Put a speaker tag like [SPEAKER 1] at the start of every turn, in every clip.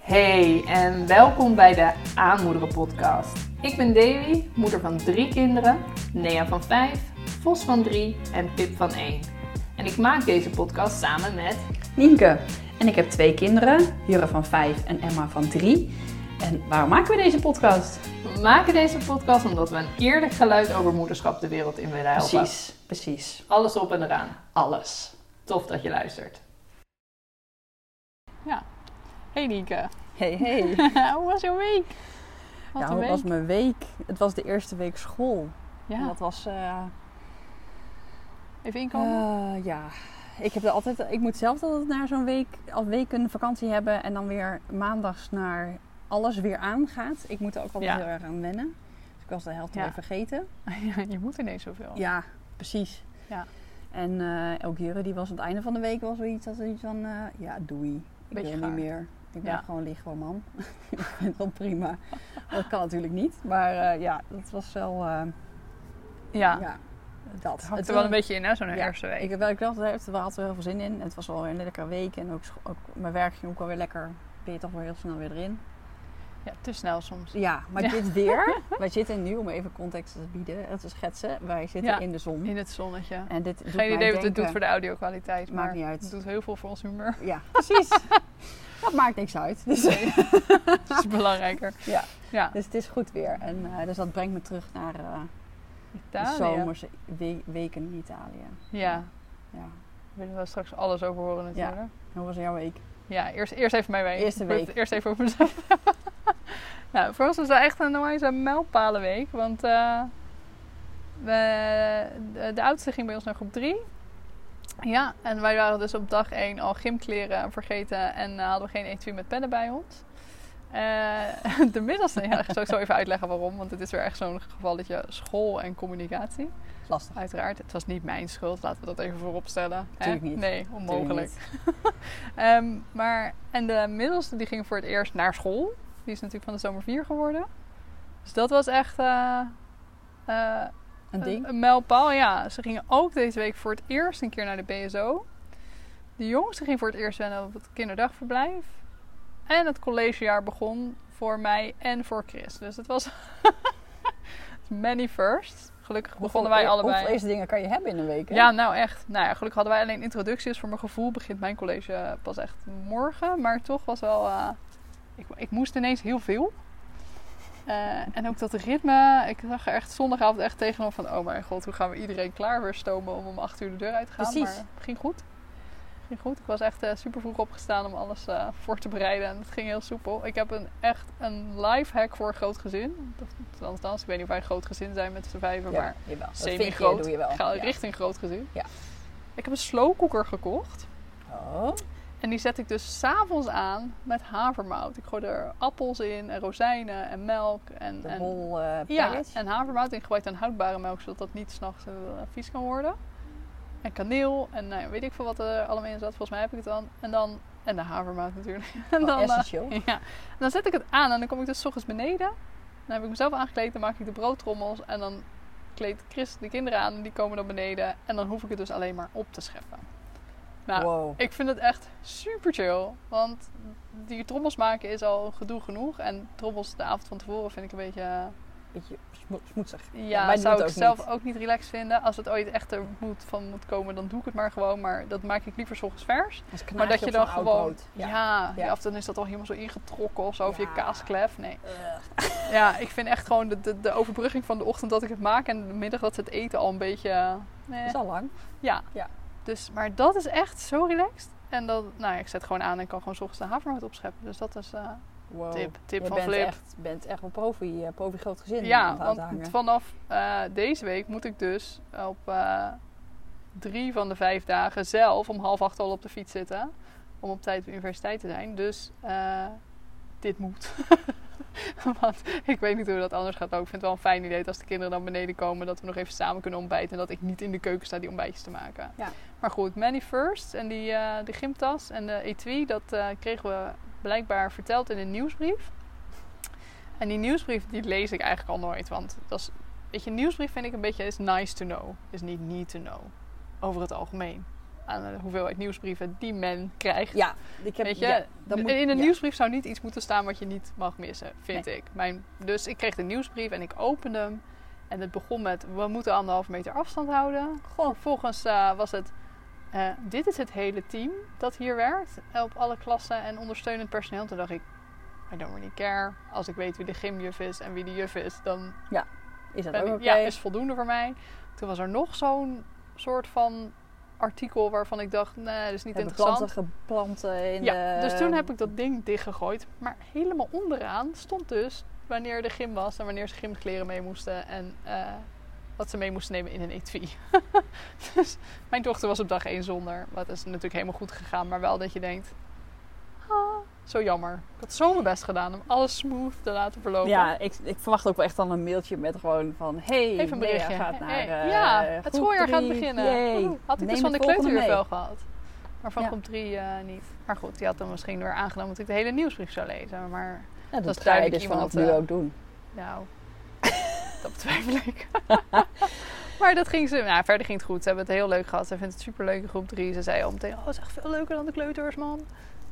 [SPEAKER 1] Hey en welkom bij de Aanmoederen Podcast. Ik ben Davy, moeder van drie kinderen, Nea van vijf, Vos van drie en Pip van één. En ik maak deze podcast samen met
[SPEAKER 2] Nienke. En ik heb twee kinderen, Jurre van 5 en Emma van 3. En waarom maken we deze podcast?
[SPEAKER 1] We maken deze podcast omdat we een eerlijk geluid over moederschap de wereld in willen helpen.
[SPEAKER 2] precies.
[SPEAKER 1] Alles op en eraan.
[SPEAKER 2] Alles.
[SPEAKER 1] Tof dat je luistert. Ja. Hey Nieke.
[SPEAKER 2] Hey, hey.
[SPEAKER 1] Hoe was jouw week? Wat
[SPEAKER 2] ja,
[SPEAKER 1] een
[SPEAKER 2] hoe
[SPEAKER 1] week.
[SPEAKER 2] was mijn week? Het was de eerste week school. En
[SPEAKER 1] Ja.
[SPEAKER 2] Dat was, eh,
[SPEAKER 1] Even inkomen.
[SPEAKER 2] eh, ja. Ik, heb er altijd, ik moet zelf altijd naar zo'n week, al weken vakantie hebben en dan weer maandags naar alles weer aangaat. Ik moet er ook altijd
[SPEAKER 1] Ja.
[SPEAKER 2] heel erg aan wennen. Dus ik was de helft
[SPEAKER 1] Ja.
[SPEAKER 2] weer vergeten.
[SPEAKER 1] Ja, je moet ineens zoveel.
[SPEAKER 2] Ja, precies.
[SPEAKER 1] Ja.
[SPEAKER 2] En eh, ook Jure, die was aan het einde van de week wel zoiets als iets van, eh, ja, doei. Ik
[SPEAKER 1] Beetje
[SPEAKER 2] wil
[SPEAKER 1] gaar.
[SPEAKER 2] niet meer. Ik ben
[SPEAKER 1] Ja.
[SPEAKER 2] gewoon lichaam man. ik vind het wel prima. Dat kan natuurlijk niet. Maar eh, ja, dat was wel, eh,
[SPEAKER 1] Ja.
[SPEAKER 2] ja. dat.
[SPEAKER 1] Het hakt er
[SPEAKER 2] was-
[SPEAKER 1] wel een beetje in, hè, zo'n
[SPEAKER 2] ja,
[SPEAKER 1] eerste week.
[SPEAKER 2] Ik, wel, ik dacht, daar had er heel veel zin in. En Het was wel weer een lekkere week. En ook, scho- ook mijn werk ging ook wel weer lekker. Ben je toch wel heel snel weer erin.
[SPEAKER 1] Ja, te snel soms.
[SPEAKER 2] Ja, maar dit weer. wij zitten nu, om even context te bieden, eh, te schetsen. Wij zitten
[SPEAKER 1] Ja.
[SPEAKER 2] in de zon.
[SPEAKER 1] In het zonnetje.
[SPEAKER 2] Hm? En dit doet
[SPEAKER 1] Geen
[SPEAKER 2] mij
[SPEAKER 1] idee wat het
[SPEAKER 2] denken-
[SPEAKER 1] doet voor de audio-kwaliteit,
[SPEAKER 2] Maakt
[SPEAKER 1] maar
[SPEAKER 2] niet uit.
[SPEAKER 1] het doet heel veel voor ons humeur.
[SPEAKER 2] Ja, precies. dat maakt niks uit. Dus,
[SPEAKER 1] Dat is belangrijker.
[SPEAKER 2] ja.
[SPEAKER 1] Ja,
[SPEAKER 2] dus het is goed weer. En, eh, dus dat brengt me terug naar eh, de
[SPEAKER 1] Italië.
[SPEAKER 2] zomerse we- weken in Italië.
[SPEAKER 1] Ja,
[SPEAKER 2] Ja.
[SPEAKER 1] daar willen we straks alles over horen
[SPEAKER 2] Ja.
[SPEAKER 1] natuurlijk. Ja,
[SPEAKER 2] Hoe was jouw week?
[SPEAKER 1] eerst, eerst even mijn week.
[SPEAKER 2] Eerste
[SPEAKER 1] Ik wil het
[SPEAKER 2] week.
[SPEAKER 1] Eerst even over mezelf hebben. nou, voor ons was het echt een onwijze mijlpalenweek, want eh, we, de, de oudste ging bij ons naar groep 3. Ja, en wij waren dus op dag 1 al gymkleren vergeten en eh, hadden we geen etui met pennen bij ons. Eh, de middelste, ja, dat zal ik zo even uitleggen waarom, want het is weer echt zo'n gevalletje school en communicatie.
[SPEAKER 2] Lastig.
[SPEAKER 1] Uiteraard, het was niet mijn schuld, laten we dat even voorop stellen. hè?
[SPEAKER 2] Tuurlijk niet.
[SPEAKER 1] Nee, onmogelijk. Ehm, maar, en de middelste die ging voor het eerst naar school. Die is natuurlijk van de zomer 4 geworden. Dus dat was echt eh, eh,
[SPEAKER 2] Een ding?
[SPEAKER 1] een mijlpaal, ja. Ze gingen ook deze week voor het eerst een keer naar de BSO. De jongste ging voor het eerst wennen op het kinderdagverblijf. En het collegejaar begon voor mij en voor Chris. Dus het was many firsts. Gelukkig begonnen wij
[SPEAKER 2] Hoeveel- eh,
[SPEAKER 1] allebei.
[SPEAKER 2] Hoeveel eerste dingen kan je hebben in een week? hè?
[SPEAKER 1] Ja, nou echt. Nou ja, gelukkig hadden wij alleen introducties. Voor mijn gevoel begint mijn college eh, pas echt morgen. Maar toch was wel... eh, ik, ik moest ineens heel veel. Eh, en ook dat ritme. Ik zag er echt zondagavond echt tegenop van... Oh mijn god, hoe gaan we iedereen klaar weer stomen om om acht uur de deur uit te gaan.
[SPEAKER 2] Precies.
[SPEAKER 1] Maar het ging goed. Het ging goed. Ik was echt eh, super vroeg opgestaan om alles eh, voor te bereiden. En het ging heel soepel. Ik heb een, echt een lifehack voor een groot gezin. Dat- Althans, ik weet niet of wij een groot gezin zijn met z'n vijven, maar...
[SPEAKER 2] Ja, jawel. Dat vind je,
[SPEAKER 1] Semi-groot.
[SPEAKER 2] doe je wel.
[SPEAKER 1] Ik ga
[SPEAKER 2] Ja.
[SPEAKER 1] richting groot gezin.
[SPEAKER 2] Ja.
[SPEAKER 1] Ik heb een slowcooker gekocht.
[SPEAKER 2] Oh,
[SPEAKER 1] En die zet ik dus s'avonds aan met havermout. Ik gooi er appels in en rozijnen en melk. En,
[SPEAKER 2] de
[SPEAKER 1] en-
[SPEAKER 2] whole eh,
[SPEAKER 1] ja,
[SPEAKER 2] package.
[SPEAKER 1] en havermout. in gebruik aan houdbare melk, zodat dat niet s'nachts eh, vies kan worden. En kaneel en nou ja, weet ik veel wat er allemaal in zat. Volgens mij heb ik het dan. En dan... En de havermout natuurlijk.
[SPEAKER 2] Wel
[SPEAKER 1] En dan, eh,
[SPEAKER 2] Oh, essentieel.
[SPEAKER 1] ja. En dan zet ik het aan en dan kom ik dus 's ochtends beneden. Dan heb ik mezelf aangekleed, dan maak ik de broodtrommels en dan kleedt Chris de kinderen aan en die komen dan beneden. En dan hoef ik het dus alleen maar op te scheppen. Nou,
[SPEAKER 2] wow.
[SPEAKER 1] ik vind het echt super chill. Want die trommels maken is al gedoe genoeg. En trommels de avond van tevoren vind ik een beetje... eh,
[SPEAKER 2] Beetje smo- smoetsig.
[SPEAKER 1] Ja,
[SPEAKER 2] wij doen
[SPEAKER 1] zou
[SPEAKER 2] het
[SPEAKER 1] ik
[SPEAKER 2] ook
[SPEAKER 1] zelf
[SPEAKER 2] niet.
[SPEAKER 1] ook niet relaxed vinden. Als het ooit echt er moet, van moet komen, dan doe ik het maar gewoon. Maar dat maak ik liever 's ochtends vers.
[SPEAKER 2] Als
[SPEAKER 1] Maar dat je dan gewoon. Ja,
[SPEAKER 2] Ja.
[SPEAKER 1] ja.
[SPEAKER 2] Ja.
[SPEAKER 1] of dan is dat al helemaal zo ingetrokken of zo. Of je
[SPEAKER 2] Ja.
[SPEAKER 1] kaasklef. Nee.
[SPEAKER 2] Ugh.
[SPEAKER 1] Ja, ik vind echt gewoon de, de, de overbrugging van de ochtend dat ik het maak en de middag dat ze het eten al een beetje. eh,
[SPEAKER 2] Dat is al lang.
[SPEAKER 1] Ja.
[SPEAKER 2] Ja.
[SPEAKER 1] Dus, maar dat is echt zo relaxed. En dan, nou ja, ik zet gewoon aan en kan gewoon 's ochtends de havermout opscheppen. Dus dat is eh
[SPEAKER 2] Wow.
[SPEAKER 1] tip, tip
[SPEAKER 2] Oh, je
[SPEAKER 1] van
[SPEAKER 2] bent
[SPEAKER 1] Flip.
[SPEAKER 2] Echt, bent echt een profi, eh, profi groot gezin. aan
[SPEAKER 1] ja,
[SPEAKER 2] het
[SPEAKER 1] want
[SPEAKER 2] uithangen.
[SPEAKER 1] vanaf eh, deze week moet ik dus op eh, drie van de vijf dagen zelf om half acht al op de fiets zitten. Om op tijd op de universiteit te zijn. Dus eh, dit moet. Want ik weet niet hoe dat anders gaat lopen. Ik vind het wel een fijn idee dat als de kinderen dan beneden komen... dat we nog even samen kunnen ontbijten. En dat ik niet in de keuken sta die ontbijtjes te maken.
[SPEAKER 2] Ja.
[SPEAKER 1] Maar goed, Many First en die, eh die gymtas en de etui... dat eh, kregen we blijkbaar verteld in een nieuwsbrief. En die nieuwsbrief die lees ik eigenlijk al nooit. Want dat is, weet je, nieuwsbrief vind ik een beetje is nice to know. Is niet need to know. Over het algemeen. aan de hoeveelheid nieuwsbrieven die men krijgt.
[SPEAKER 2] Ja, ik heb,
[SPEAKER 1] Weet je,
[SPEAKER 2] ja, dat moet-
[SPEAKER 1] in een
[SPEAKER 2] ja.
[SPEAKER 1] nieuwsbrief zou niet iets moeten staan wat je niet mag missen, vind ik. Mijn, dus ik kreeg de nieuwsbrief en ik opende hem. En het begon met, we moeten anderhalve meter afstand houden. Vervolgens eh, was het, eh, dit is het hele team dat hier werkt. eh, Op alle klassen en ondersteunend personeel. Toen dacht ik, I don't really care. Als ik weet wie de gymjuf is en wie de juf is, dan
[SPEAKER 2] Is dat
[SPEAKER 1] ben
[SPEAKER 2] ook
[SPEAKER 1] ik-
[SPEAKER 2] oké?
[SPEAKER 1] ja, is voldoende voor mij. Toen was er nog zo'n soort van artikel waarvan ik dacht, nee, dat is niet
[SPEAKER 2] Hebben
[SPEAKER 1] interessant.
[SPEAKER 2] planten geplant eh, in
[SPEAKER 1] Ja,
[SPEAKER 2] de...
[SPEAKER 1] dus toen heb ik dat ding dichtgegooid. Maar helemaal onderaan stond dus wanneer de gym was en wanneer ze gymkleren mee moesten en eh, wat ze mee moesten nemen in een etui. dus mijn dochter was op dag één zonder. Wat is natuurlijk helemaal goed gegaan, maar wel dat je denkt, ah, zo jammer. Ik had zo mijn best gedaan om alles smooth te laten verlopen.
[SPEAKER 2] Ja, ik, ik verwacht ook wel echt dan een mailtje met gewoon van... Hey,
[SPEAKER 1] Even
[SPEAKER 2] Lea
[SPEAKER 1] een berichtje.
[SPEAKER 2] gaat naar...
[SPEAKER 1] Hey,
[SPEAKER 2] eh,
[SPEAKER 1] ja,
[SPEAKER 2] groep
[SPEAKER 1] het schooljaar gaat
[SPEAKER 2] drie.
[SPEAKER 1] beginnen.
[SPEAKER 2] Yay.
[SPEAKER 1] Oeh, Had ik
[SPEAKER 2] Neem
[SPEAKER 1] dus van de
[SPEAKER 2] het volgende
[SPEAKER 1] kleuterjuf
[SPEAKER 2] mee.
[SPEAKER 1] wel gehad. Maar van
[SPEAKER 2] Ja.
[SPEAKER 1] groep 3 niet. Maar goed, die had dan misschien weer aangenomen dat ik de hele nieuwsbrief zou lezen. Maar
[SPEAKER 2] Ja,
[SPEAKER 1] Dat
[SPEAKER 2] dat
[SPEAKER 1] is
[SPEAKER 2] ga je
[SPEAKER 1] duidelijk
[SPEAKER 2] dus vanaf
[SPEAKER 1] iemand,
[SPEAKER 2] nu
[SPEAKER 1] eh,
[SPEAKER 2] ook doen.
[SPEAKER 1] Nou, dat betwijfel ik. maar dat ging ze. Nou, verder ging het goed. Ze hebben het heel leuk gehad. Ze vindt het superleuk in groep 3. Ze zei al meteen: Oh, het is echt veel leuker dan de kleuters, man.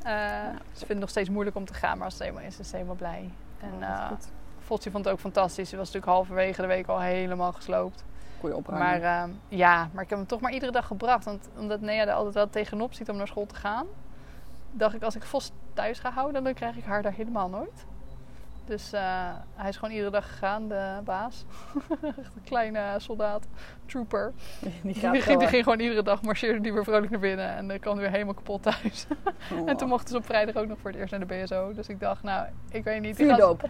[SPEAKER 1] Eh,
[SPEAKER 2] Nou.
[SPEAKER 1] ze vindt het nog steeds moeilijk om te gaan, maar als het eenmaal is, is ze helemaal blij. En
[SPEAKER 2] Ja, dat is goed.
[SPEAKER 1] eh, Fotsi vond het ook fantastisch. Ze was natuurlijk halverwege de week al helemaal gesloopt.
[SPEAKER 2] Goeie opruiming.
[SPEAKER 1] Maar ehm, ja, maar ik heb hem toch maar iedere dag gebracht. Want omdat Nea er altijd wel tegenop ziet om naar school te gaan, dacht ik als ik Vos thuis ga houden, dan krijg ik haar daar helemaal nooit. Dus eh, hij is gewoon iedere dag gegaan, de baas. Echt een kleine soldaat, trooper.
[SPEAKER 2] die
[SPEAKER 1] eh,
[SPEAKER 2] gaat
[SPEAKER 1] Die ging,
[SPEAKER 2] door.
[SPEAKER 1] die ging gewoon iedere dag, marcheerde die weer vrolijk naar binnen en dan kwam hij weer helemaal kapot thuis.
[SPEAKER 2] Oh.
[SPEAKER 1] En toen mochten ze op vrijdag ook nog voor het eerst naar de BSO. Dus ik dacht, nou, ik weet niet. Die gaan, ze,
[SPEAKER 2] Vuurdoop.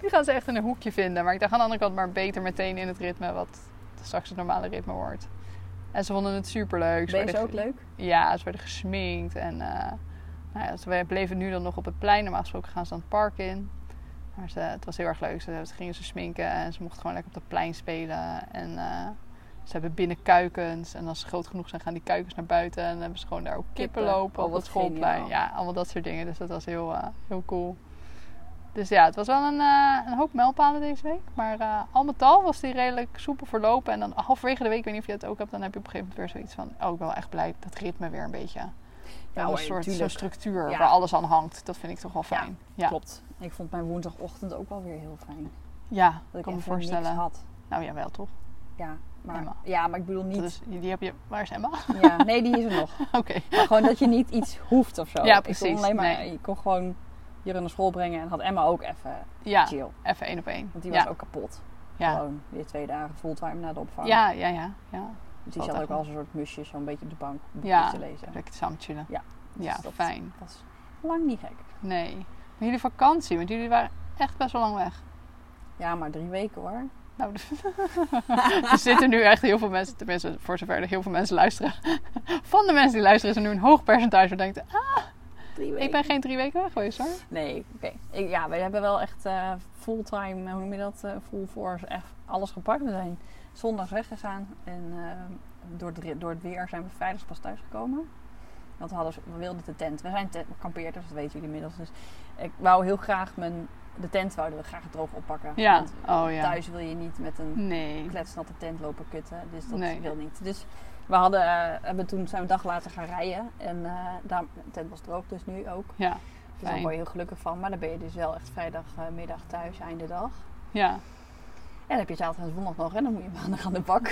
[SPEAKER 1] die gaan ze echt in een hoekje vinden. Maar ik dacht aan de andere kant, maar beter meteen in het ritme wat straks het normale ritme wordt. En ze vonden het superleuk. Ze
[SPEAKER 2] Ben je
[SPEAKER 1] werden
[SPEAKER 2] ook
[SPEAKER 1] ge-
[SPEAKER 2] leuk?
[SPEAKER 1] Ja, ze werden gesminkt. En eh, nou ja, ze bleven nu dan nog op het plein. Normaal gesproken gaan ze dan het park in. Maar ze, het was heel erg leuk. Ze, ze gingen ze sminken en ze mochten gewoon lekker op het plein spelen. En eh, ze hebben binnen kuikens. En als ze groot genoeg zijn, gaan die kuikens naar buiten. En dan hebben ze gewoon daar ook kippen,
[SPEAKER 2] Kippen.
[SPEAKER 1] lopen
[SPEAKER 2] Oh,
[SPEAKER 1] op
[SPEAKER 2] wat
[SPEAKER 1] het schoolplein.
[SPEAKER 2] geniaal.
[SPEAKER 1] Ja, allemaal dat soort dingen. Dus dat was heel, eh, heel cool. Dus ja, het was wel een, eh, een hoop mijlpalen deze week. Maar eh, al met al was die redelijk soepel verlopen. En dan halverwege de week, ik weet niet of je dat ook hebt, dan heb je op een gegeven moment weer zoiets van... Oh, ik ben wel echt blij dat ritme weer een beetje... Ja,
[SPEAKER 2] hoor,
[SPEAKER 1] een soort
[SPEAKER 2] tuurlijk.
[SPEAKER 1] zo'n structuur
[SPEAKER 2] Ja.
[SPEAKER 1] waar alles aan hangt. Dat vind ik toch wel fijn. Ja, ja.
[SPEAKER 2] Klopt. Ik vond mijn woensdagochtend ook wel weer heel fijn. Dat ik
[SPEAKER 1] dat kan me
[SPEAKER 2] even niks
[SPEAKER 1] voorstellen.
[SPEAKER 2] had.
[SPEAKER 1] Nou ja, wel toch?
[SPEAKER 2] Ja, maar,
[SPEAKER 1] Emma.
[SPEAKER 2] ja, maar ik bedoel niet...
[SPEAKER 1] Dat is, die die heb je... Waar is Emma?
[SPEAKER 2] Ja, nee, die is er nog.
[SPEAKER 1] Oké.
[SPEAKER 2] Maar gewoon dat je niet iets hoeft of zo.
[SPEAKER 1] Ja,
[SPEAKER 2] Ik kon
[SPEAKER 1] precies.
[SPEAKER 2] alleen maar,
[SPEAKER 1] Nee.
[SPEAKER 2] Je kon gewoon Jurre naar school brengen en had Emma ook even
[SPEAKER 1] Ja,
[SPEAKER 2] chill.
[SPEAKER 1] even één op één.
[SPEAKER 2] Want die
[SPEAKER 1] ja.
[SPEAKER 2] was ook kapot.
[SPEAKER 1] Ja.
[SPEAKER 2] Gewoon weer twee dagen fulltime na de opvang.
[SPEAKER 1] Ja, ja, ja, ja.
[SPEAKER 2] dus die
[SPEAKER 1] valt
[SPEAKER 2] zat
[SPEAKER 1] echt
[SPEAKER 2] ook wel
[SPEAKER 1] mee.
[SPEAKER 2] als een soort musje zo'n beetje op de bank boekjes
[SPEAKER 1] Ja.
[SPEAKER 2] te lezen.
[SPEAKER 1] Lekker samen chillen.
[SPEAKER 2] Ja. Dus
[SPEAKER 1] Ja,
[SPEAKER 2] dat-
[SPEAKER 1] fijn.
[SPEAKER 2] Dat is lang niet gek.
[SPEAKER 1] Nee. Maar jullie vakantie, want jullie waren echt best wel lang weg.
[SPEAKER 2] Ja, maar drie weken hoor.
[SPEAKER 1] Nou, er zitten nu echt heel veel mensen, tenminste voor zover er heel veel mensen luisteren. Van de mensen die luisteren is er nu een hoog percentage dat denkt, ah,
[SPEAKER 2] Drie weken.
[SPEAKER 1] ik ben geen drie weken weg geweest hoor.
[SPEAKER 2] Nee, oké. Ik- Ja, we hebben wel echt eh, fulltime, eh, hoe noem je dat, eh, full force, echt alles gepakt. We zijn zondag weggegaan en eh, door, het, re- door het weer zijn we vrijdags pas thuisgekomen. Want we, hadden, zo- we wilden de tent, we zijn tent, kampeerders, dat weten jullie inmiddels. Dus ik wou heel graag mijn, de tent wouden we graag droog oppakken.
[SPEAKER 1] Ja,
[SPEAKER 2] Want
[SPEAKER 1] oh ja.
[SPEAKER 2] thuis wil je niet met een
[SPEAKER 1] Nee.
[SPEAKER 2] kletsnatte tent lopen kutten. Dus dat
[SPEAKER 1] Nee.
[SPEAKER 2] wil niet. Dus we hadden, eh, hebben toen zijn we een dag later gaan rijden. En eh, daar, de tent was droog dus nu ook.
[SPEAKER 1] Ja,
[SPEAKER 2] Dus daar
[SPEAKER 1] Fijn.
[SPEAKER 2] word je heel gelukkig van. Maar dan ben je dus wel echt vrijdagmiddag thuis, einde dag.
[SPEAKER 1] ja.
[SPEAKER 2] En dan heb je zaterdag en zondag nog. En dan moet je maandag aan de bak.